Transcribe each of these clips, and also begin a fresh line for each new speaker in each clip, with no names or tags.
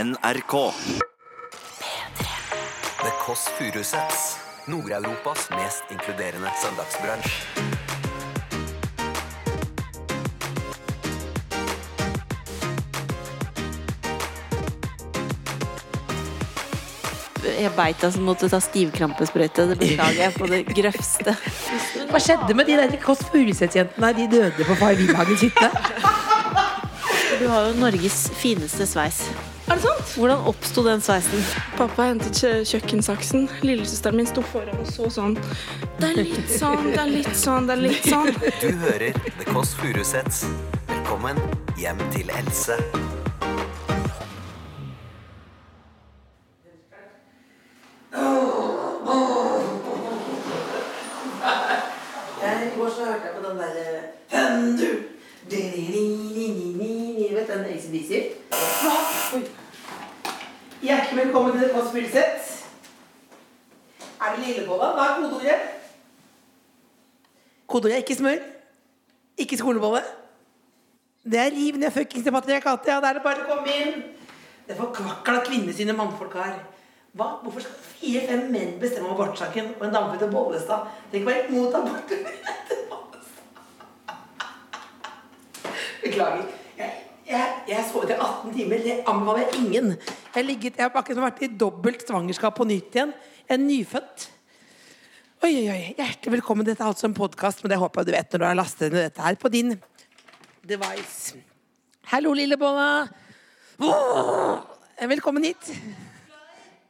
NRK.
The Kåss Furuseths. Nord-Europas mest inkluderende søndagsbransj.
Jeg beit deg som måtte ta stivkrampesprøyte. Det beklager jeg på det grøvste.
Hva skjedde med de der Kåss Furuseth-jentene? De døde på Far Villhagens hytte?
Du har jo Norges fineste sveis. Er det sant? Hvordan oppsto den sveisen?
Pappa hentet kjø- kjøkkensaksen. Lillesøsteren min sto foran og så sånn. Det er litt sånn, det er litt sånn, det er litt sånn.
Du hører The Kåss Furuseths. Velkommen hjem til Else.
Jeg, I går så hørte jeg på den derre Fun, du! Di-di-di-di-di-di. Vet du den ACDC? Hva? Oi. Hjertelig velkommen til Kåss Furuseth. Er det lillebolla? Hva er kodeordet? Kodeordet er ikke smør. Ikke skolebolle. Det er riv ned fuckings til patriarkatet. Ja, da er det bare å komme inn. Det er forkvakla kvinner sine mannfolk har. Hva? Hvorfor skal fire-fem menn bestemme om abortsaken? Og en dame fra Bollestad Tenk å være imot abort. Beklager. Jeg, jeg, jeg sovet i 18 timer. Det anbefaler jeg ingen. Jeg har ligget, jeg har akkurat vært i dobbelt svangerskap på nytt igjen. Jeg er nyfødt. Oi, oi, oi. Hjertelig velkommen. Dette er altså en podkast, men det håper jeg du vet når du har lastet ned dette her på din device. Hallo, lillebolla. Åh! Velkommen hit.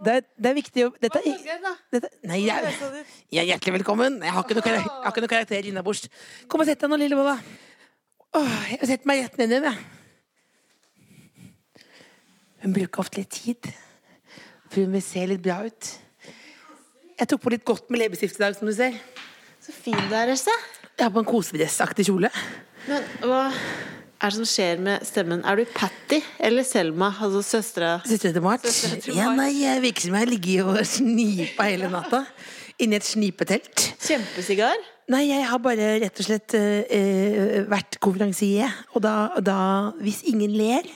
Det er, det er viktig å dette, er- dette, Nei, jeg, jeg er hjertelig velkommen. Jeg har ikke noe, karak- jeg har ikke noe karakter innabords. Kom og sett deg nå, lillebolla. Åh, Jeg setter meg rett ned igjen, jeg. Hun bruker ofte litt tid, for hun vil se litt bra ut. Jeg tok på litt godt med leppestift i dag, som du ser.
Så fin du er, Else.
Jeg har på en kosedressaktig kjole.
Men hva er det som skjer med stemmen? Er du Patty eller Selma? Altså søstera
Søstera til Mart? Ja, nei, jeg virker som jeg har ligget og snipa hele natta. Inni et snipetelt.
Kjempesigar?
Nei, jeg har bare rett og slett eh, eh, vært konferansier. Og da, da, hvis ingen ler,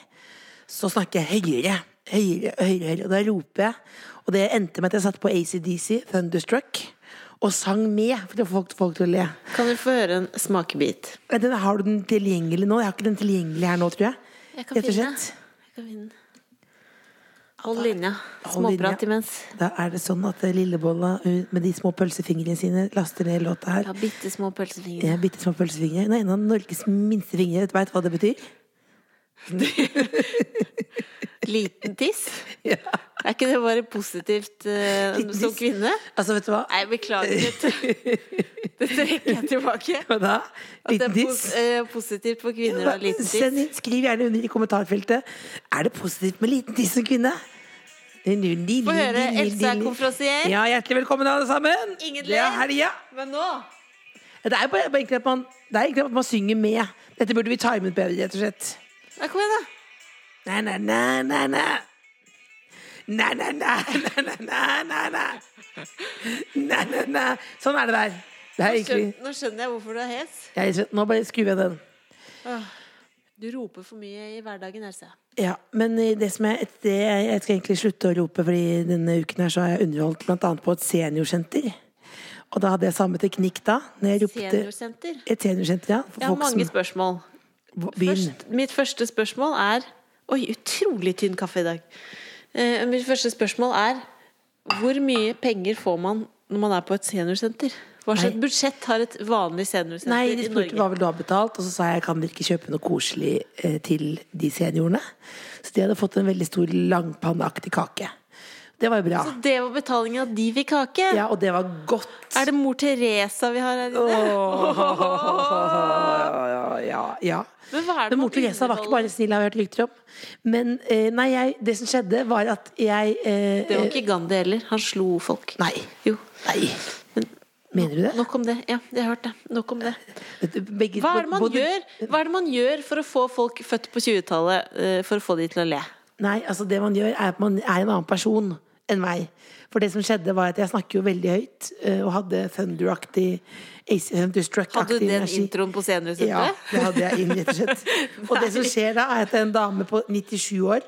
så snakker jeg høyere. Høyere, høyere, høyere. Og da roper jeg. Og det endte med at jeg satte på ACDC, Thunderstruck, og sang med for å få folk, folk til å le.
Kan vi få høre en smakebit?
Nei, Den, har du den tilgjengelig nå? Jeg har ikke den tilgjengelig her nå, tror jeg. Rett og slett.
Jeg kan finne. Hold linja.
Hold linja.
Småprat imens.
Da er det sånn at eh, Lillebolla hun med de små pølsefingrene sine laster ned låta her.
Ja, bitte små pølsefingre.
Jeg bitte små pølsefingre. Hun er en av Norges minste fingre. Veit du hva det betyr?
Liten tiss?
Ja.
Er ikke det bare positivt eh,
Liten
som
tiss.
kvinne?
Altså, vet du hva?
Nei, beklager. Det trekker jeg tilbake.
Hva da?
At det er
Liten
pos
diss?
eh, positivt for kvinner og liten
Send
tiss.
inn, skriv gjerne under i kommentarfeltet. Er det positivt med liten tiss som kvinne?
Få høre, Else er konferansier.
Ja, hjertelig velkommen, alle sammen.
Ingen
Det er
ler.
helga.
Men nå
Det er bare, bare egentlig at man, det er egentlig at man synger med. Dette burde vi timet bedre, rett og slett.
Nei, Kom igjen, da.
Næ, næ, næ, næ, næ. Næ, næ, næ, næ, næ, næ, næ, næ. Næ, næ, næ. Sånn er det der. Det er
Nå
egentlig
skjønner, nå skjønner jeg hvorfor du er hes.
jeg, Nå bare skrur jeg den.
Du roper for mye i hverdagen, Else.
Ja, men eh, det som jeg, det, jeg skal egentlig slutte å rope, fordi denne uken her så har jeg underholdt bl.a. på et seniorsenter. Og da hadde jeg samme teknikk da. Når jeg ropte,
Seniorsenter.
Et seniorsenter, ja. For
Jeg har
folk
mange
som
spørsmål.
begynner.
Først, mitt første spørsmål er Oi, utrolig tynn kaffe i dag. Eh, mitt første spørsmål er Hvor mye penger får man når man er på et seniorsenter? Hva slags
Nei.
budsjett har et vanlig seniorsenter
Nei, de
i
spurte
Norge?
hva vil du ha betalt, og så sa jeg kan dere ikke kjøpe noe koselig eh, til de seniorene. Så de hadde fått en veldig stor langpanneaktig kake. Det var jo bra.
Det var betalingen av de fikk kake.
Ja, og det var godt.
Er det mor Teresa vi har her inne?
Åh, ja, ja.
Men hva er det
Men
man
mor Teresa var ikke bare snill, har jeg hørt rykter om. Men eh, nei, jeg, det som skjedde, var at jeg eh,
Det var ikke Gandhi heller. Han slo folk.
Nei.
Jo.
Nei. Mener du det?
Nok om det. Ja, jeg har hørt det. Nok om det.
Vet du, begge-
Hva er det man
både-
gjør, hva er det man gjør for å få folk født på 20-tallet eh, for å få de til å le?
Nei, altså det man gjør, er at man er en annen person enn meg. For det som skjedde, var at jeg snakker jo veldig høyt, eh, og hadde Thunder-aktig Ace-
Hadde
Thunderstruck-aktig
du den introen på seniorsenteret?
Ja, det hadde jeg inn, rett og slett. Og det som skjer da, er at en dame på 97 år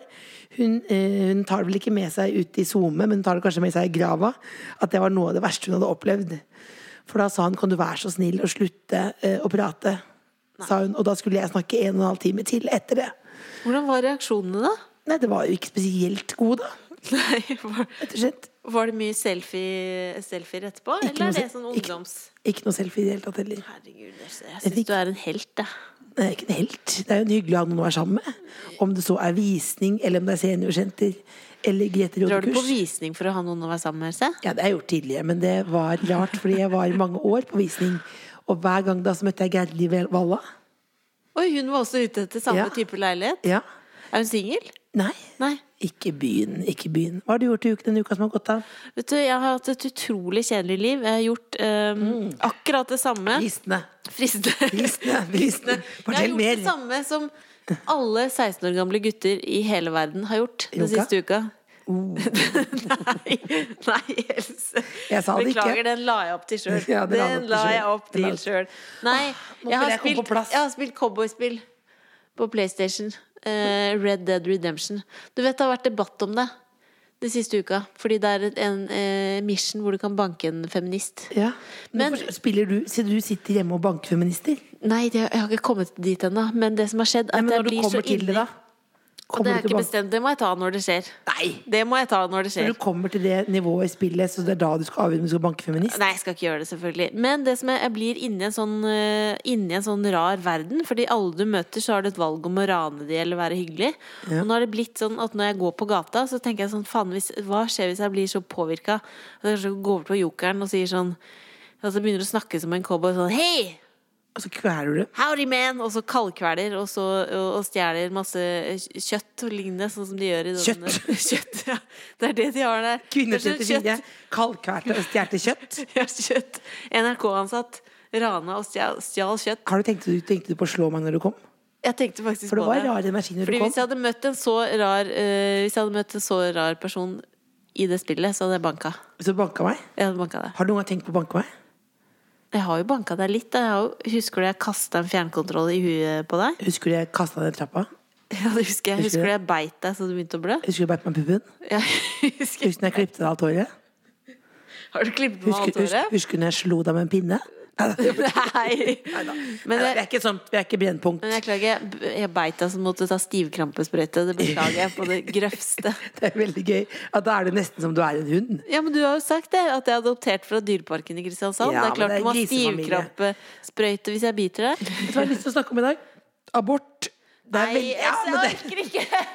Hun, eh, hun tar det vel ikke med seg ut i SoMe, men hun tar det kanskje med seg i grava. At det var noe av det verste hun hadde opplevd. For da sa han 'kan du være så snill å slutte eh, å prate', sa hun. Og da skulle jeg snakke en og en halv time til etter det.
Hvordan var reaksjonene, da?
Nei, det var jo ikke spesielt god, da.
Nei, var,
Rett og slett.
var det mye selfie- selfier etterpå?
Ikke
eller
noe
er det
se-
sånn
ikke-
ungdoms...
Ikke noe selfie i det hele tatt heller.
Herregud, jeg
Jeg
syns
fikk-
du er en helt, jeg.
Det er jo ikke en helt. Det er jo en hyggelig å ha noen å være sammen med. Om det så er visning, eller om det er seniorsenter, eller Grete
Drar du på
Rådekurs.
visning for å ha noen å være sammen med? Se?
Ja, det har jeg gjort tidligere, men det var rart, fordi jeg var mange år på visning. Og hver gang da så møtte jeg Gerli Valla.
Oi, hun var også ute etter samme
Ja.
type leilighet.
Ja.
Er hun singel?
Nei.
Nei.
Ikke byen, ikke byen. Hva har du gjort i uken, denne uka som har gått av?
Vet du, jeg har hatt et utrolig kjedelig liv. Jeg har gjort eh,
Mm.
akkurat det samme.
Fristende.
Fristende.
Fristende. Fristende.
Jeg har
Fortell
gjort det
mer.
samme som alle 16 år gamle gutter i hele verden har gjort den
Yoga? Oh.
siste uka. nei, nei, Else.
Jeg sa det ikke.
Beklager, den la jeg opp til sjøl.
Ja, den la du opp
den la jeg opp
til selv. Den la
til
du-
sjøl. Nei,
nå
jeg
føler
har,
jeg kom på
spilt,
plass.
jeg har spilt cowboyspill på PlayStation. Eh, Red Dead Redemption. Du vet det har vært debatt om det den siste uka. Fordi det er et- en eh, mission hvor du kan banke en feminist.
Ja. Men,
Men-
Hvorfor spiller du, siden du sitter hjemme og banker feminister?
Nei, det, jeg har ikke kommet dit ennå. Men det som har skjedd, er
Nei,
at
men
jeg
når du
blir så
kommer til det,
inni
da?
Det
Kommer
er
du
ikke
til å banke
bestemt, det må jeg ta når det skjer.
Nei!
Det må jeg ta når det skjer.
Når du kommer til det nivået i spillet, så det er da du skal avgjøre om du skal banke feminist?
Nei, jeg skal ikke gjøre det, selvfølgelig. Men det som er, jeg blir inni en, sånn, eh, inni en sånn rar verden. Fordi alle du møter, så har du et valg om å rane de eller være hyggelig. Og nå har det blitt sånn at når jeg går på gata, så tenker jeg sånn Faen, hvis, hva skjer hvis jeg blir så påvirka? At jeg kanskje går over til jokeren og sier sånn At jeg begynner å snakke som en cowboy sånn Hei!
Og så kveler du det.
Howdy man! Og så kaldkveler, og, så, og, og stjeler masse kjøtt og lignende, sånn som de gjør i denne- kjøtt ja. Det er det de har der.
Kvinner
Det er sånn
34, kaldkvært og stjålet kjøtt.
kjøtt- Ja, kjøtt. NRK-ansatt rana og stjal, stjal kjøtt.
Har du tenkt, du tenkte du på å slå meg når du kom?
Jeg tenkte faktisk
For det
på
var
det.
rar energi når du
Fordi
kom.
hvis jeg hadde møtt en så rar eh, Hvis jeg hadde møtt en så rar person i det spillet, så hadde jeg banka.
Så du banka meg.
Jeg hadde banka det.
Har du noen gang tenkt på å banke meg?
Jeg har jo banka deg litt. Da. Jeg har jo, husker du jeg kasta en fjernkontroll i huet på deg?
Husker du jeg kasta ned trappa?
Ja, det husker jeg. Husker du jeg beit deg så du begynte å blø?
Husker du jeg beit meg i puppen?
Ja, jeg husker
Husker du når jeg klippet deg alt håret?
Har du klippet med
Husker,
alt
husker,
håret?
husker du når jeg slo deg med en pinne? Nei, da.
Nei. Men
Nei, da, vi
jeg,
er ikke sånt, vi er ikke brennpunkt.
men jeg klager. Jeg beit deg som måtte ta stivkrampesprøyte. Det beklager jeg på det grøvste.
Det er veldig gøy. Ja, da er det nesten som du er en hund.
Ja, men du har jo sagt det, at jeg er adoptert fra Dyreparken i Kristiansand.
Ja,
det er klart
men det er
du må ha
grisefamilie.
stivkrampesprøyte hvis jeg biter deg.
Vet du hva jeg har lyst til å snakke om i dag? Abort. Det er
Nei,
veldig ja,
altså,
men
jeg
det,
orker ikke!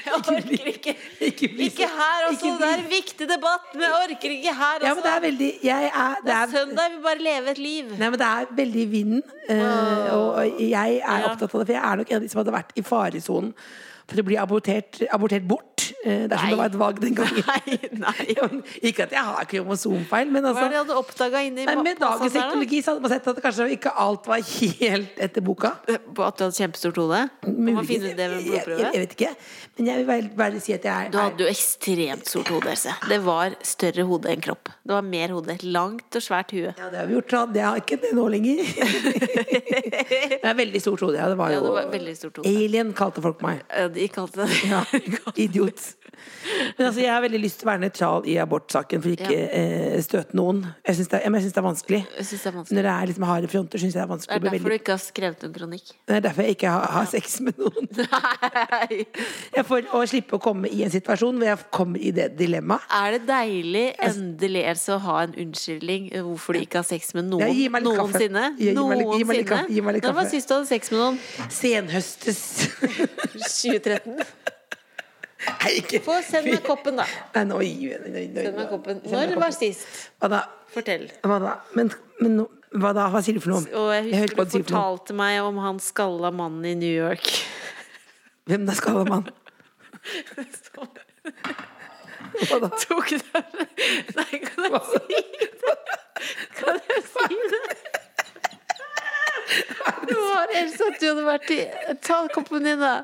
Jeg orker ikke.
Ikke bli så-
Ikke her, altså.
ikke bli-
Det er en viktig debatt, men jeg orker ikke her,
ja, men det
altså.
er veldig jeg er, det er,
Søndag jeg vil bare leve et liv.
Nei, men det er veldig i vinden. eh, og jeg er opptatt av det, for jeg er nok en av de som hadde vært i faresonen for å bli abortert, abortert bort. eh, dersom det var et valg den gangen.
Nei, nei.
Ja, men Ikke at jeg har kromosomfeil, men
Hva
altså
er det jeg hadde oppdaga inni
Nei, Med
posen
dagens
her, da?
teknologi så hadde man sett at kanskje ikke alt var helt etter boka.
På at du hadde kjempestort hode? Må man
Muligens.
finne ut det med
Jeg, jeg, jeg
blodprøve?
vet ikke. Men jeg vil bare, bare si at jeg er
Du hadde jo ekstremt stort hode, Else. Det var større hode enn kropp. Det var mer hode. Et Langt og svært hue.
Ja, det har vi gjort. da. Det har ikke det nå lenger. det er veldig stort hode. Ja, det var
Ja,
jo
det var veldig stort hode.
Alien kalte folk meg.
Eh, De kalte det
Ja, idiot. Men altså, jeg har veldig lyst til å være nøytral i abortsaken for ikke
Ja.
eh, støte noen. Jeg syns det, ja, men jeg synes det er vanskelig.
Jeg synes det er vanskelig.
Når det er liksom harde fronter, syns jeg det er
Det
vanskelig.
er
å
derfor
bli
du
veldig-
ikke har skrevet noen kronikk.
Det er derfor jeg ikke har, har sex med noen.
Nei.
Jeg For å slippe å komme i en situasjon hvor jeg kommer i det dilemmaet.
Er det deilig endelig Else, å ha en unnskyldning eh, hvorfor du ikke har sex med noen
Ja, gi meg litt kaffe.
noensinne?
Ja, gi meg litt- gi meg litt
Noensinne?
kaffe, gi meg litt
Når var
kaffe.
sist du hadde sex med noen?
Senhøstes
2013?
Nei, ikke
Få send meg koppen, da.
Nei, nå gir jeg- nå- nå-
Send meg koppen.
Send meg
Når var sist?
Hva da?
Fortell.
Hva da? Men, men nå- hva da? Hva sier du for noe?
Og jeg
hørte
husker
hva
du
sier for noe.
fortalte meg om han skalla mannen i New York.
Hvem da skalla mann?
Som
Hva da?
tok den Nei, kan jeg si det? Kan jeg si det? Det var Else at du hadde vært i Ta koppen din, da.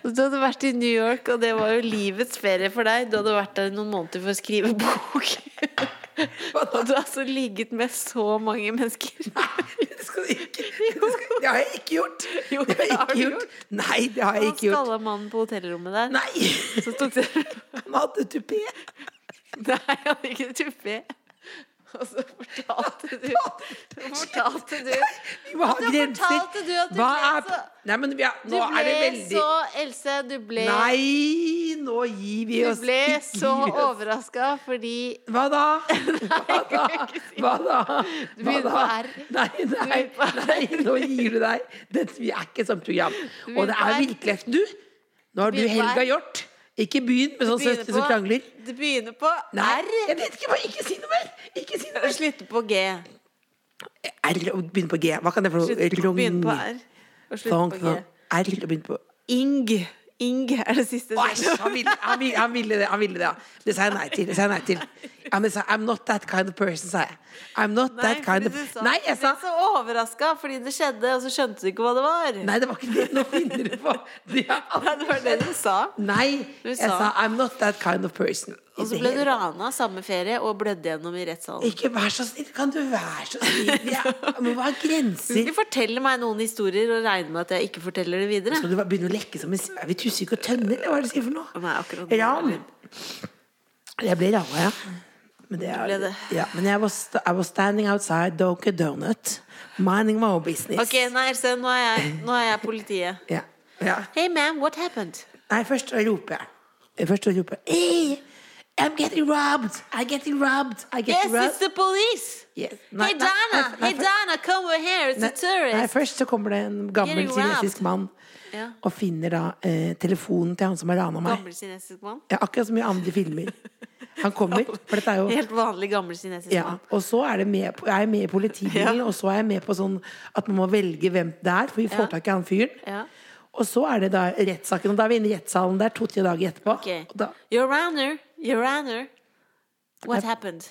Du hadde vært i New York, og det var jo livets ferie for deg. Du hadde vært der i noen måneder for å skrive bok. Og du har altså ligget med så mange mennesker.
Det skal du ikke. Det, skal, det har jeg ikke gjort.
Jo,
det har jeg ikke
det har du
gjort. Nei, det har jeg
Han
ikke gjort.
skalla mannen på hotellrommet der.
Nei,
Så tok dere
han hadde tupé.
Nei, han hadde ikke tupé. Og så fortalte du Fortalte du
Vi må ha
Du fortalte
grenser.
du at du ble
Hva er
så
Nei, men vi er,
Du
nå er det
ble
veldig
så Else, du ble
Nei, nå gir vi
Du
oss.
ble
ikke.
så overraska fordi
Hva da? Hva da? Hva da? Hva
begynner på
da?
R.
Nei, nei,
begynner på R.
nei, nå gir du deg. Dette vi er ikke et sånt program. Og det
begynner på
er
R.
virkeligheten, du. Nå har du
begynner på
Helga
R.
Hjort. Ikke begynn med sånne
begynner
søstre som
på-
krangler.
Det begynner på
Nei,
R
jeg vet ikke hva. Ikke si noe mer! Ikke si noe
og
mer.
slutter på G.
R og begynn på G. Hva kan det for noe?
Slutter- Begynner på R og slutter
Thong,
på G.
thong. R og begynn på
Ing. Ing er det siste.
Æsj!
ordet.
Han, ville- han, ville- han ville det. han ville Det ja. Det sa jeg nei til. Det sa jeg nei til. Ja, men jeg sa, I'm not that kind of person, sa jeg. I'm not that kind
fordi
of
du sa-
Nei, jeg sa
Du ble så overraska fordi det skjedde, og så skjønte du ikke hva det var.
Nei, det var ikke det. Nå finner du på. Det har
Nei,
aldri
det var det du sa.
Nei,
Du
jeg
sa-
sa I'm not that kind of person.
Og så ble du rana samme ferie og blødde gjennom i rettssalen.
Ikke vær så snill. Kan du være så snill? Vi er- må ha grenser.
Ikke fortelle meg noen historier og regne med at jeg ikke forteller det videre.
Skal du bare begynne å lekke som en s- Er vi tussyke og tønner, eller hva er det du sier for noe?
Nei, akkurat det.
Ran. Jeg ble rana, ja. Men, det
ble
er,
det.
ja, men jeg, var st I was standing outside Donker Donut, minding my own business.
Ok, nei, Else, nå er jeg, nå er jeg politiet.
Ja, ja.
Hey man, what happened?
Nei, først så roper jeg. Først så roper jeg hey, I'm getting robbed! I'm getting robbed! I'm
Yes,
getting
it's
robbed!
the police!
Yes. Nei,
Hey
nei,
Dana,
nei, nei,
hey Dana, come over here, it's a
nei, Nei,
tourist!
først så kommer det en gammel
Getting
kinesisk
robbed.
mann
Ja.
og finner da eh, telefonen til han som har rana meg.
Gammel kinesisk mann.
Ja, akkurat som i andre filmer. Han kommer, for dette er jo
Helt vanlig gammel kinesisk
ja,
mann.
og så er, det med på, jeg er med i politibilen,
Ja.
og så er jeg med på sånn at man må velge hvem det er, for vi får
Ja.
tak i han fyren.
Ja.
Og så er det da rettssaken, og da er vi inne i rettssalen der to-tre dager etterpå.
Ok.
Og da,
Your Honor, Your Honor, what happened?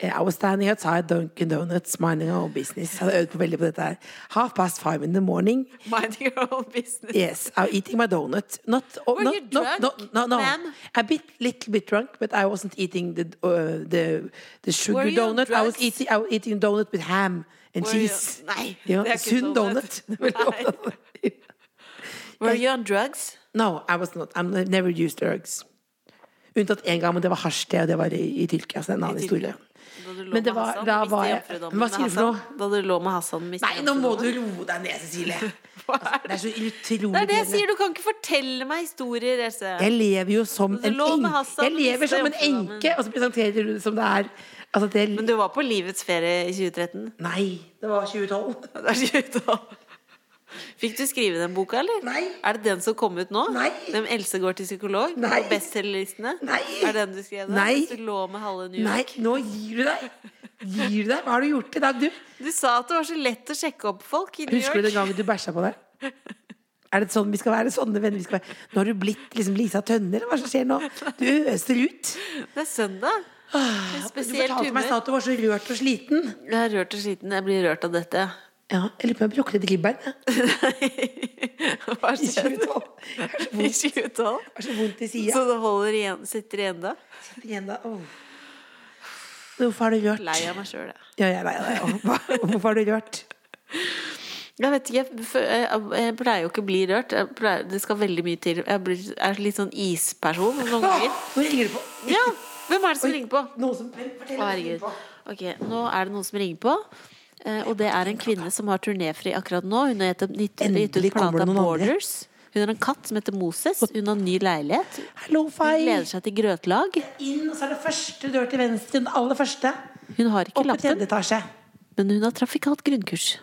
Eh, I was standing outside Dunkin' Donuts, minding our own business. Jeg hadde øvd på veldig på dette her. Half past five in the morning.
Mind your own business.
Yes, I'm eating my donut. Not, oh,
Were
not,
you
not-
drunk,
no, no, no.
ma'am?
A bit, little bit drunk, but I wasn't eating the uh, the, the sugar
Were you on
donut. I was
drugs?
eating I was eating donut with ham and
Were you-
cheese.
Nei,
Ja,
det er ikke
sunn donut.
donut. Were you on drugs?
no, I was not. I'm never used drugs. Unntatt én gang, men det var hasj, det, og det var i, i Tyrkia. Så det er en annen historie.
Da du lå
Men det
med
var-
Hassan,
da
mistet
var jeg-
jomfrudommen
Hva
med
sier du for
Hassan. Da du lå med Hassan mistet
Nei, nå må du
jomfrudommen.
roe deg ned, Cecilie.
Hva
Altså,
er
det er så
Det er det jeg
utrolig irriterende.
sier, du kan ikke fortelle meg historier, Else.
Jeg lever jo som
Du
en
lå med
enke.
Hassan,
Jeg lever
miste
som en
jomfrudommen.
enke, og så presenterer du det som det er. Altså, det
Men
er
du var på livets ferie i 2013.
Nei, det var 2012.
Det er 2012. Fikk du skrive den boka, eller?
Nei.
Er det den som kom ut nå?
Nei.
Den Else går til psykolog?
Nei.
På bestselgerlistene?
Nei.
Er det den du skrev? da?
Nei.
Du lå med halve New
Nei,
York.
nå gir du deg. Gir du deg? Hva har du gjort i dag, du?
Du sa at det var så lett å sjekke opp folk i New
Husker du den
York.
gangen du bæsja på deg? Er det sånn vi skal være? Sånne venner vi skal være? Nå har du blitt liksom Lisa Tønne, eller hva som skjer nå? Du øser ut.
Det er søndag. Det er
Du
spesielt
fortalte meg
humør.
snart at du var så rørt og sliten.
Jeg er rørt og sliten. Jeg blir rørt av dette.
Ja, jeg lurer på om jeg brukket et ribbein jeg.
Hva
i
skjedde i
2012. Jeg har så vondt-
2012?
jeg har så vondt i
Så
sida.
det holder igjen, sitter igjen da?
Hvorfor er du rørt?
Lei av meg sjøl, jeg.
Ja, jeg er lei av deg òg. Hva- Hvorfor er du rørt?
Jeg vet ikke, jeg, f- jeg- jeg pleier jo ikke å bli rørt. Jeg pleier, det skal veldig mye til. Jeg blir, er litt sånn isperson noen ganger.
Nå ringer du på.
Ja, hvem er det som ringer på?
Noen som forteller
Å,
hvem som ringer
herregud.
på.
Ok, nå er det noen som ringer på. eh, Og det er en kvinne som har turnéfri akkurat nå. Hun har gitt gitt
Endelig
ut
kommer
plata
det noen andre.
Borders. Hun har en katt som heter Moses. Hun har ny leilighet.
Hallo,
Hun
Fay.
gleder seg til grøtlag.
Inn, og så er det første dør til venstre. Den aller første.
Hun har ikke
Opp i
lappen.
tredje etasje.
men hun har trafikalt grunnkurs.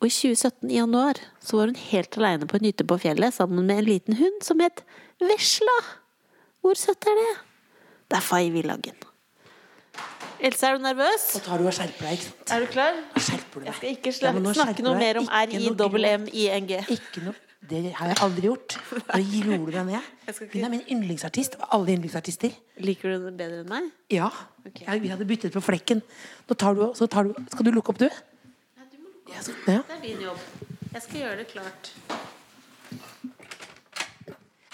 Og i 2017 i januar så var hun helt alene på en hytte på fjellet sammen med en liten hund som het Vesla. Hvor søtt er det? Det er Fay Villagen. Else, er du nervøs?
Så tar du og skjerper deg, ikke sant?
Er du klar?
Nå skjerper du
Jeg
deg.
skal ikke
Ja, men nå skjerper
snakke noe
du deg.
mer om
Ikke noe
E.
grovt.
R-I-M-M-I-N-G.
Ikke noe Det har jeg aldri gjort. Nå roer du deg ned.
skal ikke-
Hun er min yndlingsartist. av Alle yndlingsartister.
Liker du den bedre enn meg?
Ja. Jeg, vi hadde byttet på flekken. Nå tar du, så tar du Skal du lukke opp, du? Ja, så- ja.
Det er din jobb. Jeg skal gjøre det klart.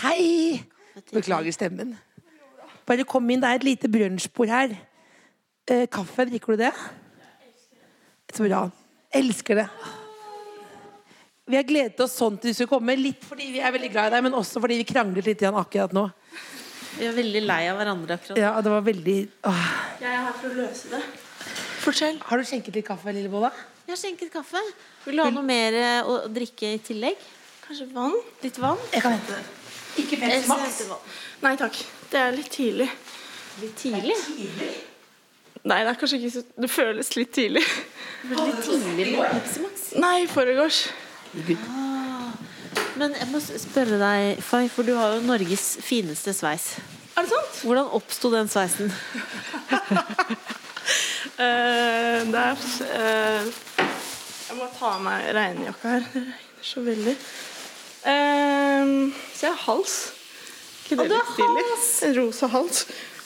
Hei! Beklager stemmen. Bare kom inn, det er et lite brunsjbord her. Eh, kaffe, drikker du det? Så bra.
Elsker det. Vi har gledet oss sånn til du skulle komme. Litt fordi vi er veldig glad i deg, men også fordi vi kranglet litt igjen akkurat nå.
Vi er veldig lei av hverandre akkurat.
Ja, det var veldig Åh.
Jeg er her for å løse det. Fortell.
Har du skjenket litt kaffe, Lillebolla?
Jeg har skjenket kaffe. Vil du ha noe mer eh, å drikke i tillegg?
Kanskje vann?
Litt vann?
Jeg kan hente det. Ikke
Jeg
Pepsi
skal
Max.
hente vann.
Nei takk. Det er litt tidlig.
Litt tidlig.
Nei, det er kanskje ikke så Det føles litt tidlig.
Litt tidlig med Pepsi Max.
Nei, i forgårs.
Men jeg må spørre deg, Fay, for du har jo Norges fineste sveis.
Er det sant?
Hvordan oppsto den sveisen?
Eh, det er eh, Jeg må ta av meg regnjakka her. Det regner så veldig. Eh, så jeg har hals. Ikke det
du har
litt stilig? En rosa hals.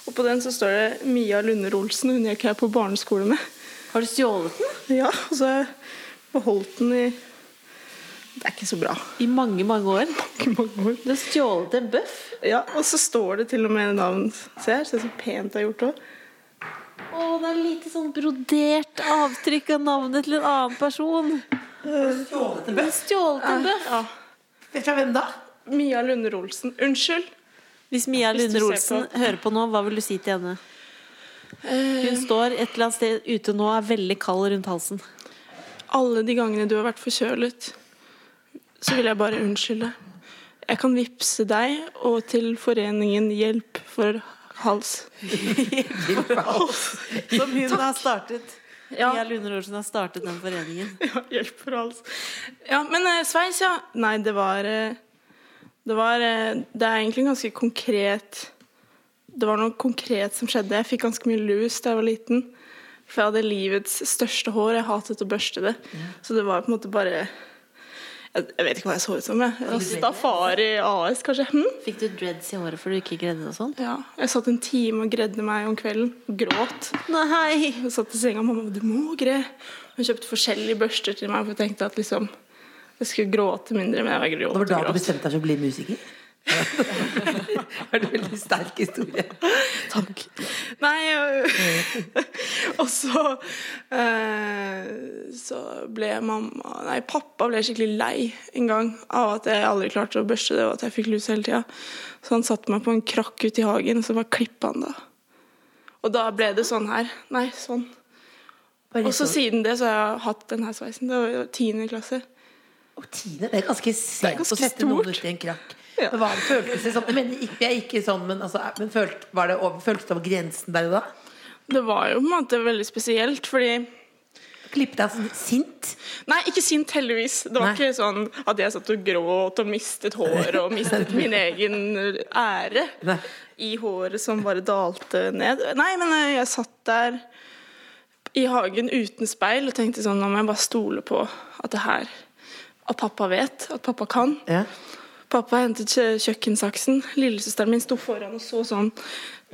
Og på den så står det Mia Lunder Olsen. Hun gikk jeg på barneskole med.
Har du stjålet den?
Ja, og så har jeg beholdt den i Det er ikke så bra.
I mange, mange år.
Ikke mange år.
Du har stjålet en bøff.
Ja, og så står det til og med navn. Se her, se så pent det er gjort òg.
Å, det er lite sånn brodert avtrykk av navnet til en annen person.
Stjålet en bøff.
Stjålet en bøff.
Ja.
Fra hvem da?
Mia Lunder Olsen. Unnskyld.
Hvis Mia
Hvis du
Lunder
ser
Olsen
på.
hører på nå, hva vil du si til henne?
Eh,
Hun står et eller annet sted ute nå og er veldig kald rundt halsen.
Alle de gangene du har vært forkjølet, så vil jeg bare unnskylde. Jeg kan vippse deg og til foreningen Hjelp for hals.
Som hun har startet.
Ja.
Mia Lunder Olsen har startet den foreningen.
Ja, hjelp for hals. Ja, men eh, sveis, ja. Nei, det var eh, Det var eh, Det er egentlig ganske konkret Det var noe konkret som skjedde. Jeg fikk ganske mye lus da jeg var liten. For jeg hadde livets største hår. Jeg hatet å børste det. Så det var på en måte bare Jeg, jeg vet ikke hva jeg så ut som. jeg. Rastafari AS, kanskje. Hm?
Fikk du dreads i håret for du ikke greide det og sånn?
Ja, jeg satt en time og gredde meg om kvelden og gråt.
Nei!
Jeg satt i senga og mamma du må gre. Hun kjøpte forskjellige børster til meg, for jeg tenkte at liksom, jeg skulle gråte mindre. Men jeg gråt
Det var da
og
du
gråt.
bestemte deg for å bli musiker? Det er en veldig sterk historie.
Takk. Nei, øh, og så eh, Så ble mamma Nei, pappa ble skikkelig lei en gang av at jeg aldri klarte å børste det, og at jeg fikk lus hele tida. Så han satte meg på en krakk ute i hagen, og så bare klippa han det. Og da ble det sånn her. Nei, sånn.
Bare
Og så
sånn.
siden det så har jeg hatt denne sveisen. Det var jo tiende klasse.
Og Tine, det er ganske
er
sent
ganske
å sette noen
stort.
ut i en krakk.
Ja.
Men hva føltes det som? Jeg mener, ikke, jeg er ikke sånn, men, altså, men følt, var det over, føltes det over grensen der og da?
Det var jo på en måte veldig spesielt, fordi
Klippet deg sånn sint?
Nei, ikke sint, heldigvis. Det
Nei.
var ikke sånn at jeg satt og gråt og mistet håret og mistet min egen ære
Nei.
i håret som bare dalte ned. Nei, men eh, jeg satt der i hagen uten speil og tenkte sånn Nå må jeg bare stole på at det her At pappa vet, at pappa kan.
Ja.
Pappa hentet kjø- kjøkkensaksen. Lillesøsteren min sto foran og så sånn.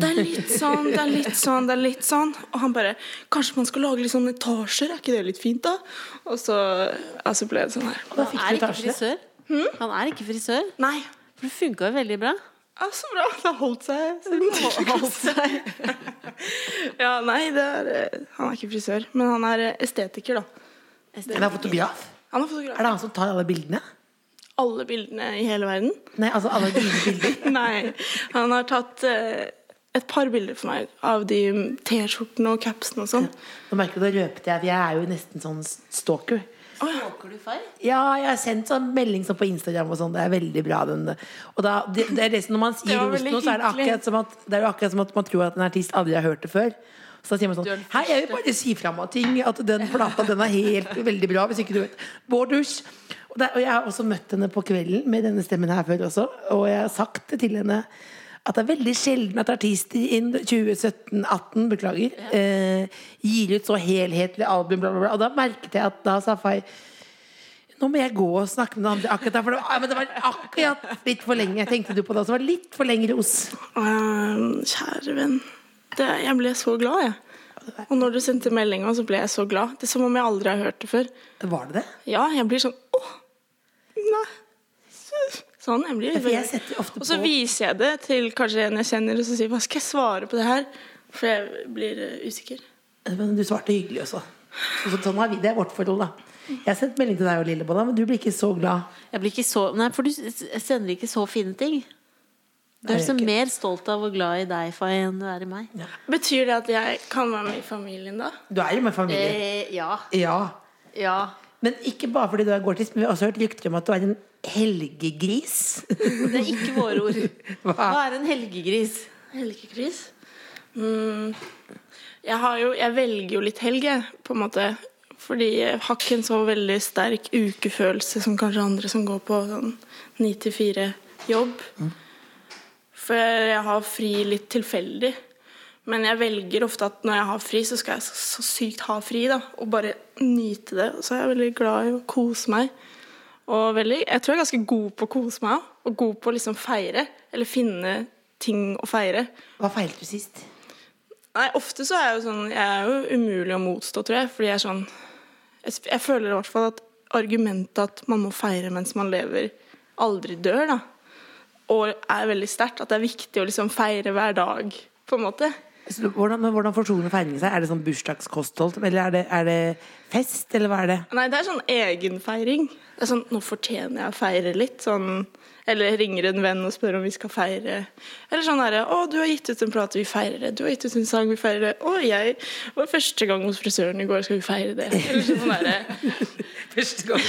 Det er litt sånn, det er litt sånn, det er litt sånn. Og han bare Kanskje man skal lage litt sånn etasjer? Er ikke det litt fint, da? Og så ja, så ble det sånn her.
Og da fikk
Han er
du
ikke
etasjene.
frisør. Hmm? Han er ikke frisør.
Nei.
For det funka jo veldig bra.
Ja, så bra. Det har holdt seg. siden Ja, nei, det er eh, Han er ikke frisør, men han er eh, estetiker, da.
Men jeg er fotograf.
Han er
Er
fotograf.
det han som tar alle bildene?
Alle bildene i hele verden.
Nei, altså alle dine bilder.
Nei. Han har tatt eh, et par bilder for meg av de T-skjortene og capsene og sånn.
Nå merker du, da røpte jeg, for jeg er jo nesten sånn stalker.
Stalker du feil?
Ja, jeg har sendt sånn melding sånn på Instagram og sånn. Det er veldig bra, den. Og da, det, det er det, som- når man sier
Det var
ros
veldig
nå, så er det,
hyggelig.
akkurat som at, det er jo akkurat som at man tror at en artist aldri har hørt det før. Så da sier man
Du er
sånn
den
Hei, jeg vil bare si fra om at ting. At den plata, den er helt veldig bra, hvis ikke du vet. Borders. Og, det, og jeg har også møtt henne på kvelden med denne stemmen her før også. Og jeg har sagt det til henne at det er veldig sjelden at artister innen 2017-18 beklager, eh, gir ut så helhetlig album, bla, bla, bla. Og da merket jeg at da sa Fay nå må jeg gå og snakke med noen andre akkurat der, for det var, ja, men det var akkurat litt for lenge. Tenkte du på det også? Det var litt for lenge ros.
Ehm, kjære venn. Det, jeg ble så glad, jeg. Og når du sendte meldinga, så ble jeg så glad. Det er som om jeg aldri har hørt det før.
Var det det?
Ja, jeg blir sånn Åh, nei. Så- Sånn, jeg blir
Ja, for jeg
veldig-
setter ofte
Og så
på-
viser jeg det til kanskje en jeg kjenner, og så sier jeg, hva skal jeg svare på det her? For jeg blir eh, usikker.
Men du svarte hyggelig også. Så sånn har vi, det er vårt forhold, da. Jeg har sendt melding til deg og Lillebolla, men du blir ikke så glad.
Jeg blir ikke så Nei, for du s- sender ikke så fine ting. Du er
Nei, jeg
liksom
gjør ikke.
mer stolt av og glad i deg, Fay, enn du er i meg.
Betyr det at jeg kan være med i familien da?
Du er jo med familie.
Eh, ja.
Ja.
Ja.
Men ikke bare fordi du er gårdtis, men vi har også hørt rykter om at du er en helgegris.
Det er ikke våre ord.
Hva?
Hva er en helgegris?
Helgekris? Mm. Jeg, har jo, jeg velger jo litt helg, jeg, på en måte. Fordi jeg har ikke en så veldig sterk ukefølelse som kanskje andre som går på sånn ni til fire-jobb. For jeg har fri litt tilfeldig. Men jeg velger ofte at når jeg har fri, så skal jeg så, så sykt ha fri. da, Og bare nyte det. Så jeg er veldig glad i å kose meg. Og veldig, jeg tror jeg er ganske god på å kose meg også, og god på å liksom feire. Eller finne ting å feire.
Hva feilte du sist?
Nei, ofte så er jeg jo sånn Jeg er jo umulig å motstå, tror jeg. Fordi jeg er sånn Jeg, s- jeg føler i hvert fall at argumentet at man må feire mens man lever, aldri dør, da. Og er veldig sterkt. At det er viktig å liksom feire hver dag, på en måte.
Så du- Hvordan, men hvordan forsoner feiringen seg? Er det sånn bursdagskosthold? Eller er det, er det fest, eller hva er det?
Nei, det er sånn egenfeiring. Det er sånn, Nå fortjener jeg å feire litt. Sånn, eller ringer en venn og spør om vi skal feire. Eller sånn herre Å, du har gitt ut en plate, vi feirer det. Du har gitt ut en sang, vi feirer det. Å, jeg var første gang hos frisøren i går, skal vi feire det? Eller sånn derre.
Første gang.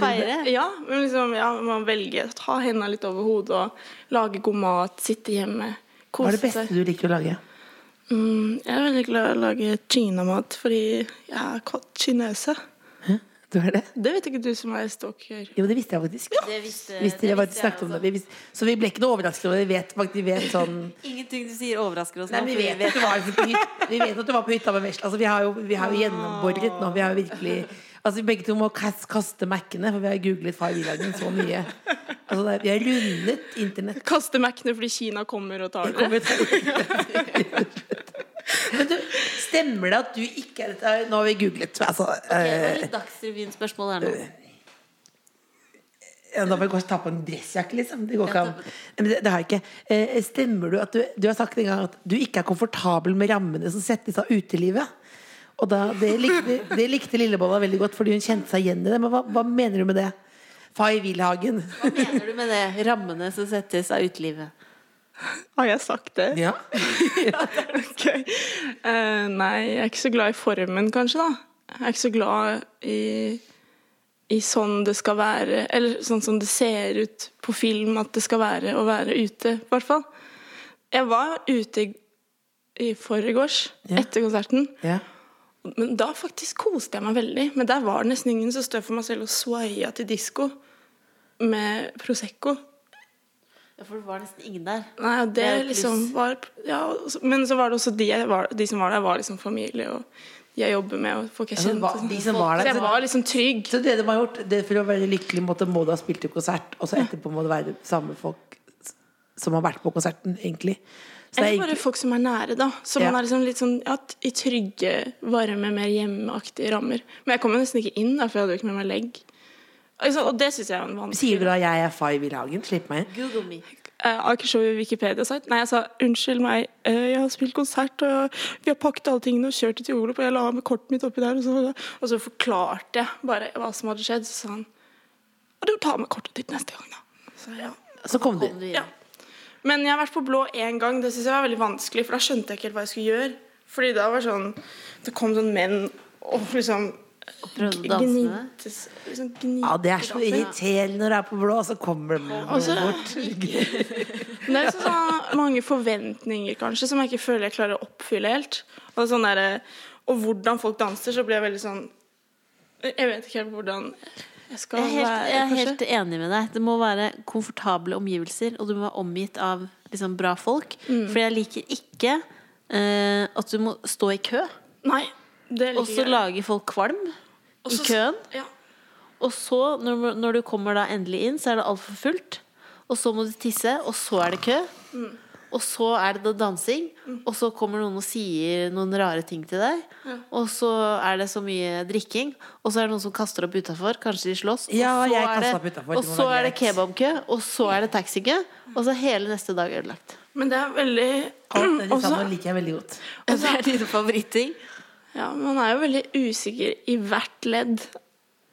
Feire?
Ja, men liksom, ja, man velger å ta hendene litt over hodet og lage god mat, sitte hjemme,
Hva er
kose
det beste
seg.
du liker å lage?
Mm, jeg er veldig glad i å lage kinamat fordi jeg er kott kinese.
Du er det?
Det vet ikke du som er stalker.
Jo, det visste jeg faktisk.
Det visste-
Visste
det
jeg
visste
faktisk
jeg
snakket om
også.
det. Vi visste, så vi ble ikke noe overrasket over det. Vi vet faktisk, vi vet sånn
Ingenting du sier overrasker oss
Nei,
nå.
vi
for
vet at du var, på hy- vi vet at du var på hytta med vesla. Altså, vi har jo, vi
Ah.
har jo gjennomboret nå. Vi har jo virkelig Altså, vi begge to må kas- kaste Mac-ene, for vi har googlet far Villagen så mye. Altså, det er, vi har rundet internett.
Kaste Mac-ene fordi Kina kommer og tar
Det
det.
kommer til- Men du, stemmer det at du ikke er dette? Nå har vi googlet. Altså,
Ok,
eh,
det var litt Dagsrevyen-spørsmål her nå.
Ja, da må jeg kanskje ta på en dressjakke, liksom. Det går ikke
Ja,
an.
ta på-
Men det, det har jeg ikke. Eh, stemmer du at du, du har sagt en gang at du ikke er komfortabel med rammene som settes av utelivet? Og da, det, likte, det likte Lillebolla veldig godt, fordi hun kjente seg igjen i det. Men hva, hva mener du med det? Fay Wilhagen.
Hva mener du med det? Rammene som settes av utelivet.
Har jeg sagt det?
Ja.
Ok. Eh, nei, jeg er ikke så glad i formen, kanskje, da. Jeg er ikke så glad i, i sånn det skal være, eller sånn som det ser ut på film at det skal være å være ute, i hvert fall. Jeg var ute i, i forgårs,
Ja.
etter konserten,
ja.
men da faktisk koste jeg meg veldig. Men der var det nesten ingen som stod for meg selv og swaia til disko med Prosecco.
Ja, For det var nesten ingen der.
Nei, og
Det er
det
et
liksom
pluss.
var ja, og så- Men så var det også de, jeg var, de som var der, var liksom familie og de jeg jobber med. Og folk jeg
Altså,
kjente.
hva-
og sånn.
de som var
så
der
jeg
så-
var liksom trygg.
Så det de har gjort, det for å være lykkelig måte, må du ha spilt i konsert, og så etterpå må det være samme folk s- som har vært på konserten, egentlig. Så det er
Eller bare
egentlig
folk som er nære, da. Så
Ja.
man er liksom litt sånn ja, i trygge, varme, mer hjemmeaktige rammer. Men jeg kom jo nesten ikke inn, da, for jeg hadde jo ikke med meg legg. Altså, og det syns jeg er en vanskelig
Sier du da 'jeg er Fay Wilhagen'? Slipp meg inn.
Google me.
Jeg har ikke så Wikipedia-site. Nei, jeg sa unnskyld meg, eh, jeg har spilt konsert, og vi har pakket alle tingene og kjørt det til Olof, og jeg la med kortet mitt oppi der, og så, og så forklarte jeg bare hva som hadde skjedd. Så sa han ja, du tar med kortet ditt neste gang, da. Så, ja.
Så kom du.
Kom du inn.
Ja. Men jeg har vært på blå én gang. Det synes jeg var veldig vanskelig, for da skjønte jeg ikke helt hva jeg skulle gjøre. Fordi da var det sånn Det kom sånn menn og liksom
Prøvde å danse med deg.
gnites liksom gnites.
Ja, det er så irriterende når det er på blå, så kommer det noen
så-
bort.
Det er så sånn mange forventninger, kanskje, som jeg ikke føler jeg klarer å oppfylle helt. Og, det er sånn derre- og hvordan folk danser, så blir jeg veldig sånn Jeg vet ikke helt hvordan jeg skal
Jeg er, helt, jeg
være,
er helt enig med deg. Det må være komfortable omgivelser, og du må være omgitt av liksom, bra folk. For jeg liker ikke eh, at du må stå i kø,
Nei, det
og så
liker jeg.
lager folk kvalm i
Også-
køen.
Ja.
Og så, når, når du kommer da endelig inn, så er det altfor fullt. Og så må du tisse, og så er det kø.
Mm.
Og så er det da dansing, og så kommer noen og sier noen rare ting til deg. Og så er det så mye drikking, og så er det noen som kaster opp utafor. Kanskje de slåss.
Ja,
og så,
jeg
er det,
kastet opp utenfor,
og
det må
så
være
er det
greit.
kebabkø, og så er det taxikø. Og så hele neste dag ødelagt.
Men det er veldig
Alt det de
Også-
sammen liker jeg veldig godt.
Og så er det dine favoritting.
Ja, men man er jo veldig usikker i hvert ledd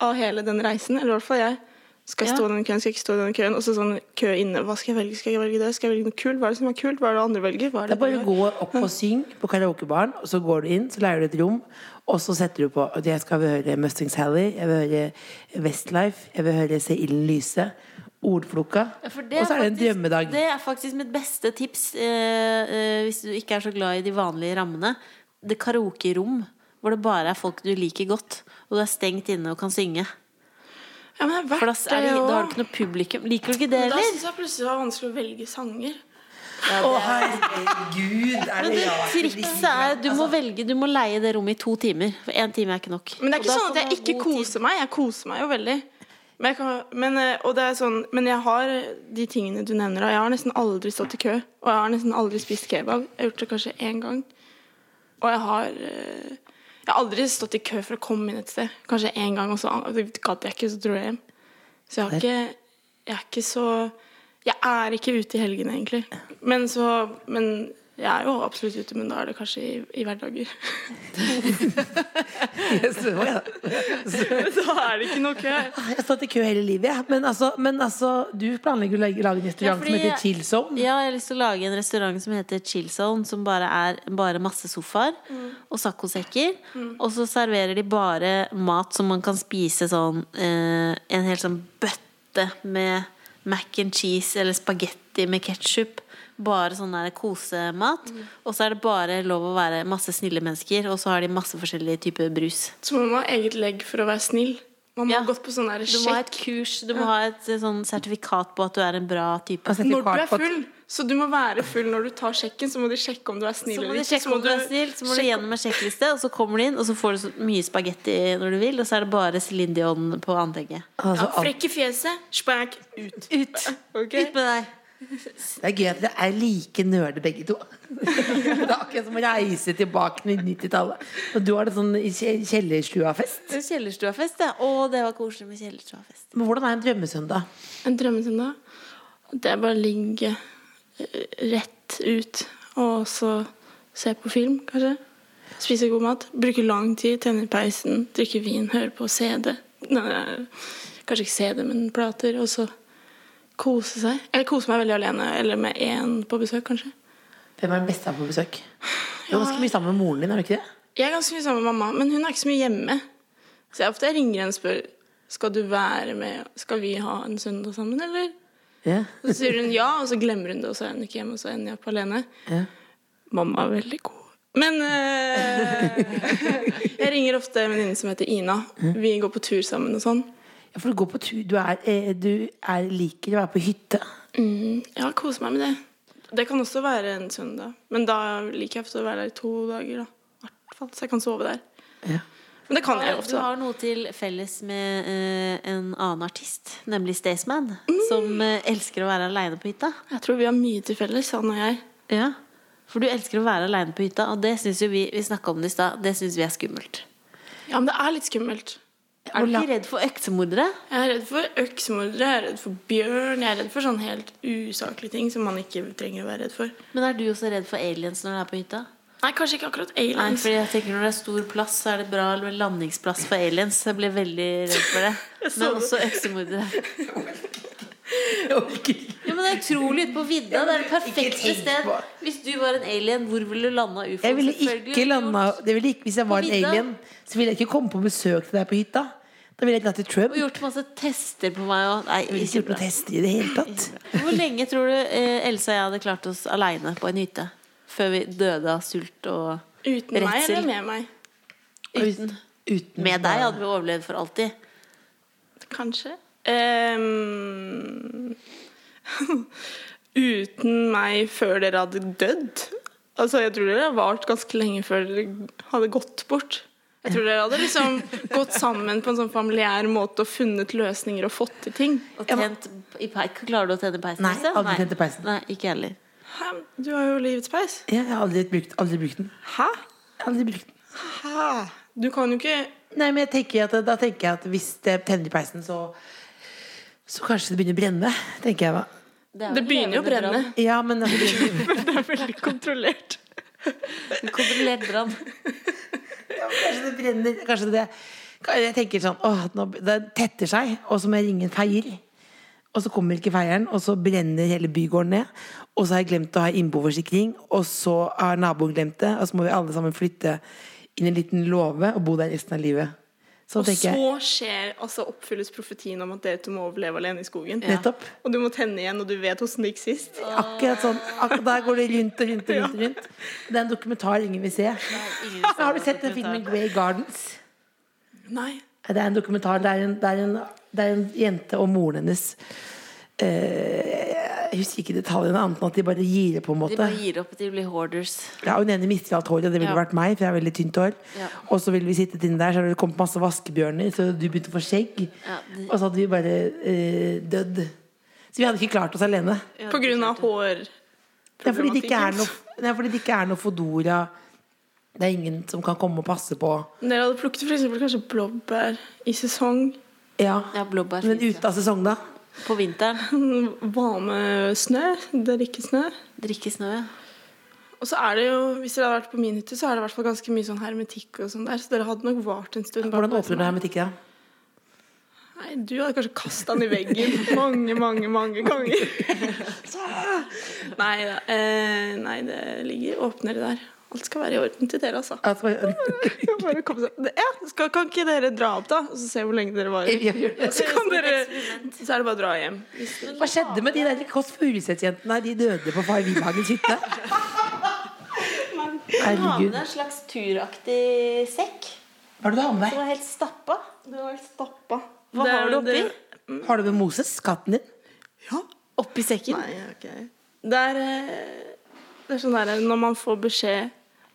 av hele den reisen. Eller i hvert fall jeg. Skal jeg
Ja.
stå i den køen, skal jeg ikke stå i den køen? Og så sånn kø inne. Hva skal jeg velge? Skal jeg velge det? Skal jeg velge noe kult? Hva er det som er kult? Hva er det andre velger? Hva er
Det
det
er bare å
dere
gå opp og synge på karaokebaren, og så går du inn, så leier du et rom, og så setter du på og Jeg skal høre Mustang Sally, jeg vil høre Westlife, jeg vil høre Se ilden lyse, Ordflokka.
Ja, for
og så er det en
faktisk-
drømmedag.
Det er faktisk mitt beste tips eh, eh, hvis du ikke er så glad i de vanlige rammene. Det karaokerom hvor det bare er folk du liker godt, og du er stengt inne og kan synge.
gjør? Ja, men det er
For da,
verdt
er det, da har du
det
ikke noe publikum. Liker du ikke det
òg. Da
heller?
syns jeg plutselig det var vanskelig å velge sanger.
Å, herregud! Er
Men
det
det
rart?
trikset er du må velge, du må leie det rommet i to timer. For én time er ikke nok.
altså- Men det er ikke
Og da
sånn at
får
jeg
man
ikke
god tid.
koser meg. Jeg koser meg jo veldig. Men, jeg kan, men, eh, og det er sånn, men jeg har de tingene du nevner. Og jeg har nesten aldri stått i kø. Og jeg har nesten aldri spist kebab. Jeg har gjort det kanskje én gang. Og jeg har eh, Jeg har aldri stått i kø for å komme inn et sted. Kanskje én gang, og så og det gadd jeg ikke, så dro jeg hjem. Så jeg har ikke Jeg er ikke så Jeg er ikke ute i helgene, egentlig. Men så Men jeg er jo absolutt ute, men da er det kanskje i, i hverdager.
Så, ja.
da er det ikke noe kø.
Ah, Jeg har stått i kø hele livet, jeg. Men, altså, men altså, du planlegger å lage lage en
Ja,
restaurant
fordi
som heter
jeg-
Chill Zone.
Ja, jeg har lyst til å lage en restaurant som heter Chill Zone, som bare er bare masse sofaer og saccosekker. Og så serverer de bare mat som man kan spise sånn eh, En hel sånn bøtte med mac and cheese eller spagetti med ketsjup. Bare sånn der kosemat. Og så er det bare lov å være masse snille mennesker, og så har de masse forskjellige typer brus.
Så man må ha eget legg for å være snill. Man må
Ja.
ha gått på sånn der
Du må ha
sjekk.
et kurs, du må ha et eh, sånn sertifikat på at du er en bra type.
Altså,
Når du er
sertifikat på at-
full, så du må være full når du tar sjekken, så må de sjekke om du er snill
Så må
eller
de
ikke.
sjekke om du er snill, så må du gjennom en sjekkliste, og så kommer du inn, og så får du så mye spagetti når du vil, og så er det bare Céline Dion på antrekket.
ja,
altså, alt-
Frekk i fjeset, spæk, ut.
Ut!
Ok?
Ut med deg!
Det er gøy at dere er like nerde begge to. det er akkurat som å reise tilbake til 90-tallet. Og du har det sånn i kje- kjellerstuafest.
Kjellerstuafest, ja. Å, det var koselig med kjellerstuafest.
Men hvordan er en drømmesøndag?
En drømmesøndag, det er bare å ligge eh, rett ut og så se på film, kanskje. Spise god mat. Bruke lang tid, tenne i peisen, drikke vin, høre på CD. Nei, kanskje ikke CD, men plater. Og så kose seg. Eller kose meg veldig alene, eller med én på besøk, kanskje.
Hvem er den beste på besøk? Du er ganske mye sammen med moren din, er du ikke det?
Jeg er ganske mye sammen med mamma, men hun er ikke så mye hjemme. Så jeg ofte ringer henne og spør skal du være med, skal vi ha en søndag sammen, eller?
Ja.
Så sier hun ja, og så glemmer hun det, og så er hun ikke hjemme, og så ender jeg opp alene.
Ja.
Mamma er veldig god. Men eh, jeg ringer ofte en venninne som heter Ina. Vi går på tur sammen og sånn.
Ja, For du går på tur. Du, er, eh, du er, liker å være på hytte.
Mm, ja, koser meg med det. Det kan også være en søndag, men da liker jeg ofte å være der i to dager, da. I hvert fall, så jeg kan sove der.
Ja.
Men det kan
Du
jeg ofte, da.
har noe til felles med eh, en annen artist, nemlig Staysman, som eh, elsker å være aleine på hytta.
Jeg tror vi har mye til felles, han og jeg.
Ja. For du elsker å være aleine på hytta, og det syns jo vi Vi snakka om det i stad, det syns vi er skummelt.
Ja, men det er litt skummelt.
Er du ikke redd for øksemordere?
Jeg er redd for øksemordere, jeg er redd for bjørn, jeg er redd for sånn helt usaklige ting som man ikke trenger å være redd for.
Men er du også redd for aliens når du er på hytta?
Nei, kanskje ikke akkurat
Nei,
aliens.
fordi jeg tenker Når det er stor plass, så er det bra med landingsplass for aliens. Jeg ble veldig redd for det. Men også øksemordere.
Jeg orker ikke.
Ja, men Det er utrolig ute på vidda. Det er det perfekte
Ikke tenk
sted.
på-
Hvis du var en alien, hvor ville du landa ufoen?
Jeg ville
Selvfølgelig
ikke
ville du
landa
gjort-
det ville ikke, Hvis jeg var en
På vidda.
alien, så ville jeg ikke komme på besøk til deg på hytta. Da ville jeg dratt til Trump.
Og
Jeg
gjort masse tester på meg og Nei,
ville
ikke
ikke gjort
bra.
noen tester i det hele tatt.
Hvor lenge tror du eh, Elsa og jeg hadde klart oss aleine på en hytte? Før vi døde av sult og
Uten meg
redsel.
eller med meg?
uten?
Uten
Med deg hadde vi overlevd for alltid.
Kanskje. Ehm, uten meg før dere hadde dødd. Altså, jeg tror dere har vart ganske lenge før dere hadde gått bort. Jeg tror dere hadde liksom gått sammen på en sånn familiær måte og funnet løsninger og fått til ting.
Og tent i peis. Klarer du å tenne peisen?
Nei,
Elsa?
aldri tente peisen.
Nei, ikke jeg heller.
Hæ? Du har jo livets peis.
Ja, Jeg har aldri brukt, aldri brukt den.
Hæ?
Aldri brukt den.
Hæ? Du kan jo ikke
Nei, men jeg tenker at, da tenker jeg at hvis det tenner i peisen, så Så kanskje det begynner å brenne, tenker jeg da.
er
Det
jo
begynner jo å
levende brann.
brenne.
Ja, men altså,
Det er veldig kontrollert.
Kontrollert brann.
Kanskje det brenner. Kanskje det Jeg tenker sånn åh, nå, Det tetter seg, og så må jeg ringe en feier. Og så kommer ikke feieren, og så brenner hele bygården ned. Og så har jeg glemt å ha innboforsikring, og så har naboen glemt det. Og så må vi alle sammen flytte inn i en liten låve og bo der resten av livet. Så
Og
tenker jeg.
så skjer, altså oppfylles profetien om at dere to må overleve alene i skogen.
Nettopp.
Og du må tenne igjen, og du vet hvordan det gikk sist.
Akkurat sånn. Akkurat der går det rundt og rundt og rundt. og rundt. Det er en dokumentar ingen vil se.
Ingen ser
Har du
det
sett den
dokumentar.
filmen Grey Gardens?
Nei.
Det er en dokumentar. Det er en, det er en, det er en jente og moren hennes eh, Jeg husker ikke detaljene, annet enn at de bare gir opp, på en
De
måte.
bare gir opp, de blir hoarders.
Ja, Hun ene mister alt håret, og det ville
Ja.
vært meg, for jeg har veldig tynt hår.
Ja.
Og så ville vi sittet inne der, så hadde det kommet masse vaskebjørner, så du begynte å få skjegg.
Ja, det-
Og så hadde vi bare eh, dødd. Så vi hadde ikke klart oss alene.
På grunn av hår...
Det er fordi det ikke er noe, det er fordi det ikke er noe Fodora. Det er ingen som kan komme og passe på.
Dere hadde plukket for eksempel kanskje blåbær i sesong.
Ja,
Ja, blåbær
Men
finnes,
ute av sesong, da?
ja. På vinteren.
Valmesnø. Det er ikke snø.
Drikke snø, ja.
Og så er det jo, hvis dere hadde vært på min hytte, så er det i hvert fall ganske mye sånn hermetikk og sånn der, så dere hadde nok vart en stund.
Hvordan åpner du hermetikken? da?
Nei, du hadde kanskje kasta den i veggen mange, mange, mange ganger. nei da. Eh, nei, det ligger åpnere der. Alt skal være i orden til dere, altså.
Altså,
Bare komme seg. Ja, skal, kan ikke dere dra opp, da? Og så se hvor lenge dere varer.
jeg gjør det.
Så, kan dere, så er det bare å dra hjem.
Hva skjedde med de der Kåss Furuseth-jentene? De døde på Far Wilhagens hytte. Herregud.
en slags turaktig sekk.
Hva er det du har med deg?
var helt stappa.
Det var stappa.
Hva har du oppi?
Har du med Moses, katten din?
Ja.
Oppi sekken?
Nei, ok. Det er, eh, det er sånn der, når man får beskjed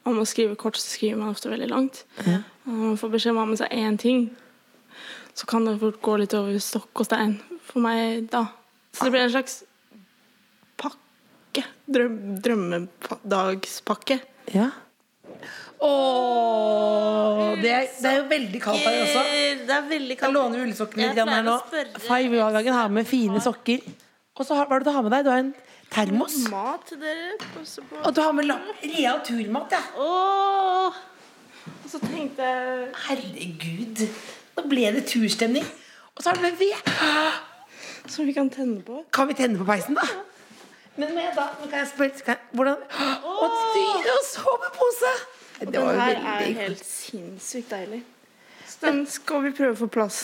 om å skrive kort, så skriver man ofte veldig langt. Og Når man får beskjed om å ha med seg én ting, så kan det fort gå litt over stokk og stein for meg da. Så det blir en slags pakke. Drøm, drømmedagspakke.
Ja. Åh, det, er, det er jo veldig kaldt her også.
Det er veldig
Jeg låner ullsokkene litt grann her nå. Five Wilhagen har med fine sokker. Og så har, hva er det du har med deg? Du har en termos.
Mat til dere. passe på.
Og du har med lapp. Rea turmat, ja.
Åh,
Og så tenkte jeg
Herregud. Nå ble det turstemning. Og så har du med ved.
Som vi kan tenne på.
Kan vi tenne på peisen, da? Men må jeg da nå kan jeg spørre kan jeg, Hvordan Og dyre og sovepose! Det var
Den
jo
her
veldig
er helt sinnssykt deilig. Så den skal vi prøve å få plass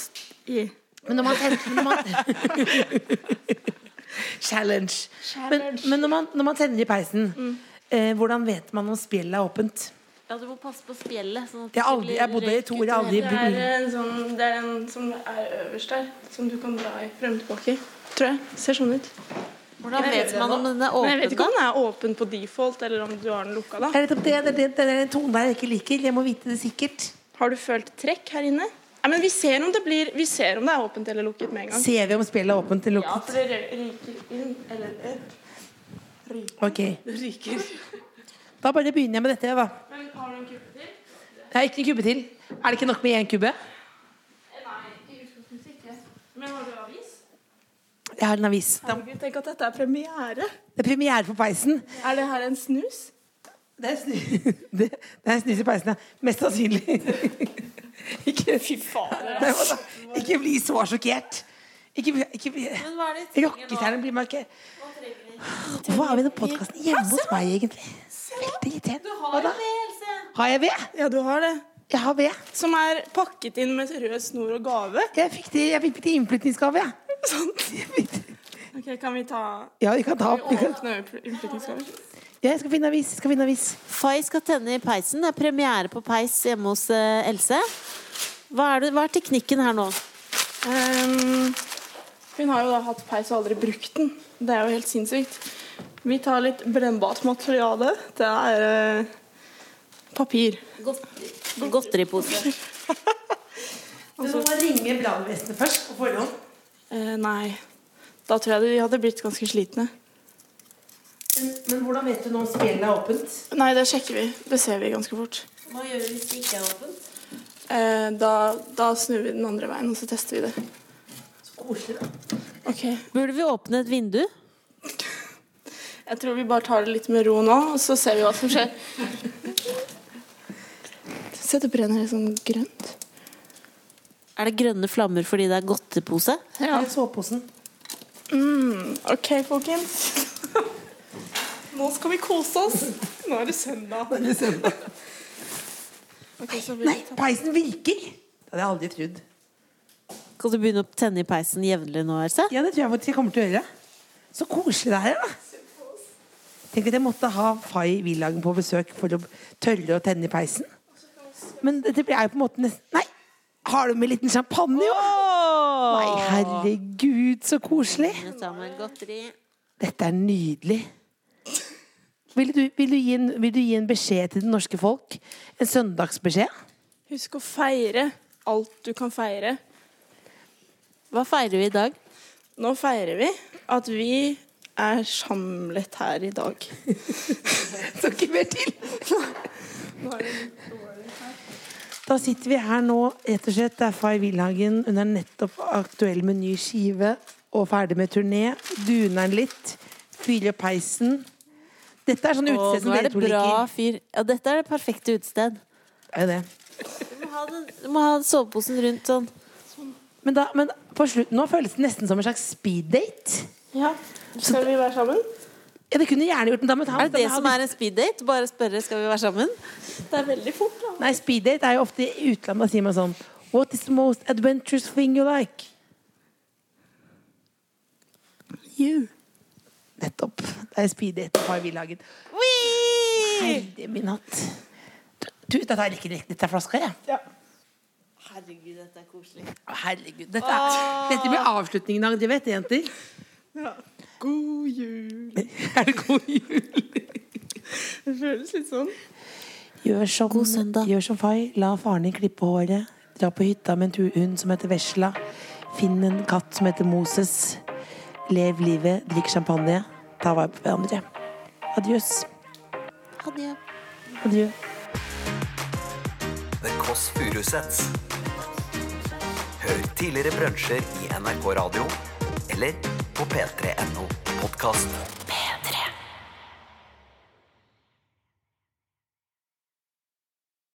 i.
Men når man tenner men når man... Challenge. Men, men når, man, når man tenner i peisen,
Mm.
eh, hvordan vet man om spjeldet er åpent?
ja, du må passe på spjellet. Sånn at
Jeg, har aldri, jeg bodde i to år, jeg har aldri
Det er
brukt
en sånn Det er en som er øverst der, som du kan dra i frem og tilbake. i, Tror jeg. Ser sånn ut.
Hvordan vet man om den er
Men jeg vet
åpen?
ikke
da?
om den er åpen på default, eller om du har den lukka,
Det
da.
er nettopp det, det, er det, det er den tonen der jeg ikke liker. Jeg må vite det sikkert.
Har du følt trekk her inne? Nei, men vi ser om det blir Vi ser om det er åpent eller lukket med en gang.
Ser vi om spjeldet er åpent eller
Ja,
lukket?
for det rø- ryker inn eller ut. Ryker.
Ok.
Det ryker.
Da bare begynner jeg med dette, jeg, da.
Men har du en kuppe til?
Jeg har ikke en kubbe til. Er det ikke nok med én kubbe?
Nei, i utgangspunktet ikke. Men har du avis?
Jeg har en avis. Da-
Herregud, tenk at dette er premiere.
Det er premiere for peisen.
Er det her en snus?
Det er, snu, det, det er snus i peisen, ja. Mest sannsynlig. ikke,
Fy fader.
Nei, hva da? ikke bli så sjokkert. Ikke, bli- ikke bli
Men hva er det de trenger nå?
Rockestjernen blir man ikke Hvorfor har vi den podkasten hjemme hos meg, egentlig? Veldig irriterende.
Du har jo det, Else.
Har jeg ved?
Ja, du har det.
Jeg har ved.
Som er pakket inn med rød snor og gave.
Jeg fikk det, jeg fikk det i innflyttingsgave, jeg.
Ok, Kan vi ta
Ja, vi kan ta opp. vi kan-
åpne innflyttingsgaver?
Ja, jeg skal finne avis. Jeg skal finne avis.
Fay skal tenne i peisen. Det er premiere på peis hjemme hos eh, Else. Hva er, det, hva er teknikken her nå?
Ehm, hun har jo da hatt peis og aldri brukt den. Det er jo helt sinnssykt. Vi tar litt brennbart materiale. Det er eh, papir.
Godteripose.
Du må ringe brannvesenet først på forhånd.
Eh, nei, da tror jeg de hadde blitt ganske slitne.
Men, men hvordan vet du nå om spjeldet er åpent?
Nei, det sjekker vi. Det ser vi ganske fort.
Hva gjør vi hvis det ikke er åpent?
Eh, da, da snur vi den andre veien, og så tester vi det.
Så koselig, da.
Ok.
Burde vi åpne et vindu?
Jeg tror vi bare tar det litt med ro nå, og så ser vi hva som skjer. se, det brenner litt sånn grønt.
Er det grønne flammer fordi det er godtepose?
Ja.
Her er soveposen.
Ok, folkens. Nå skal vi kose oss. Nå er det søndag. Ok, så vi
Nei, peisen virker! Det hadde jeg aldri trodd.
Skal du begynne å tenne i peisen jevnlig nå, Else?
Ja, det tror jeg faktisk jeg kommer til å gjøre. Så koselig det her, da. Tenk at jeg måtte ha Fay Villagen på besøk for å tørre å tenne i peisen. Men dette er jo på en måte nesten Nei! Har du med en liten champagne òg? Nei, herregud, så koselig.
Jeg tar meg en godteri.
Dette er nydelig. Vil du, vil, du gi en, vil du gi en beskjed til det norske folk? En søndagsbeskjed?
Husk å feire alt du kan feire.
Hva feirer vi i dag?
Nå feirer vi at vi er samlet her i dag.
Skal ikke mer til. Da sitter vi her nå, rett og slett. Det er Fay Wilhagen. Hun er nettopp aktuell med ny skive og ferdig med turné. Duner den litt. Fyrer opp peisen. Dette er sånn
Å,
utested som
nå er
dere
det
to
bra
liker.
fyr. Ja, dette er det perfekte utested.
Er jo det.
Du må ha, den, du må ha soveposen rundt sånn.
Men, da, men på slutten nå føles det nesten som en slags speeddate.
Ja. Skal vi være sammen?
Ja, det kunne jeg gjerne gjort men da, men
Er det det som er en speeddate? Bare spørre skal vi være sammen?
Det er veldig fort, da.
Nei, speeddate er jo ofte i utlandet. Da sier man sånn What is the most adventurous thing you like?
You.
Nettopp. Det er speeddate har vi laget. Herre min hatt. Du, du, dette er ikke direkte dette er flaska, jeg.
Herregud, dette er koselig.
Å, Herregud. Dette, er, dette blir avslutningen av det, vet du, jenter.
God jul.
Er det god jul?
Det føles litt sånn.
Gjør som,
God søndag.
Gjør som fai. La faren din klippe håret. Dra på hytta med en tur- hund som heter Vesla. Finn en katt som heter Moses. Lev livet, drikk champagne. Ta vare på hverandre. Adjøs.
Adjø.
Adjø.
The Kåss Furuseths. Hør tidligere brunsjer i NRK Radio eller på p3.no podkast.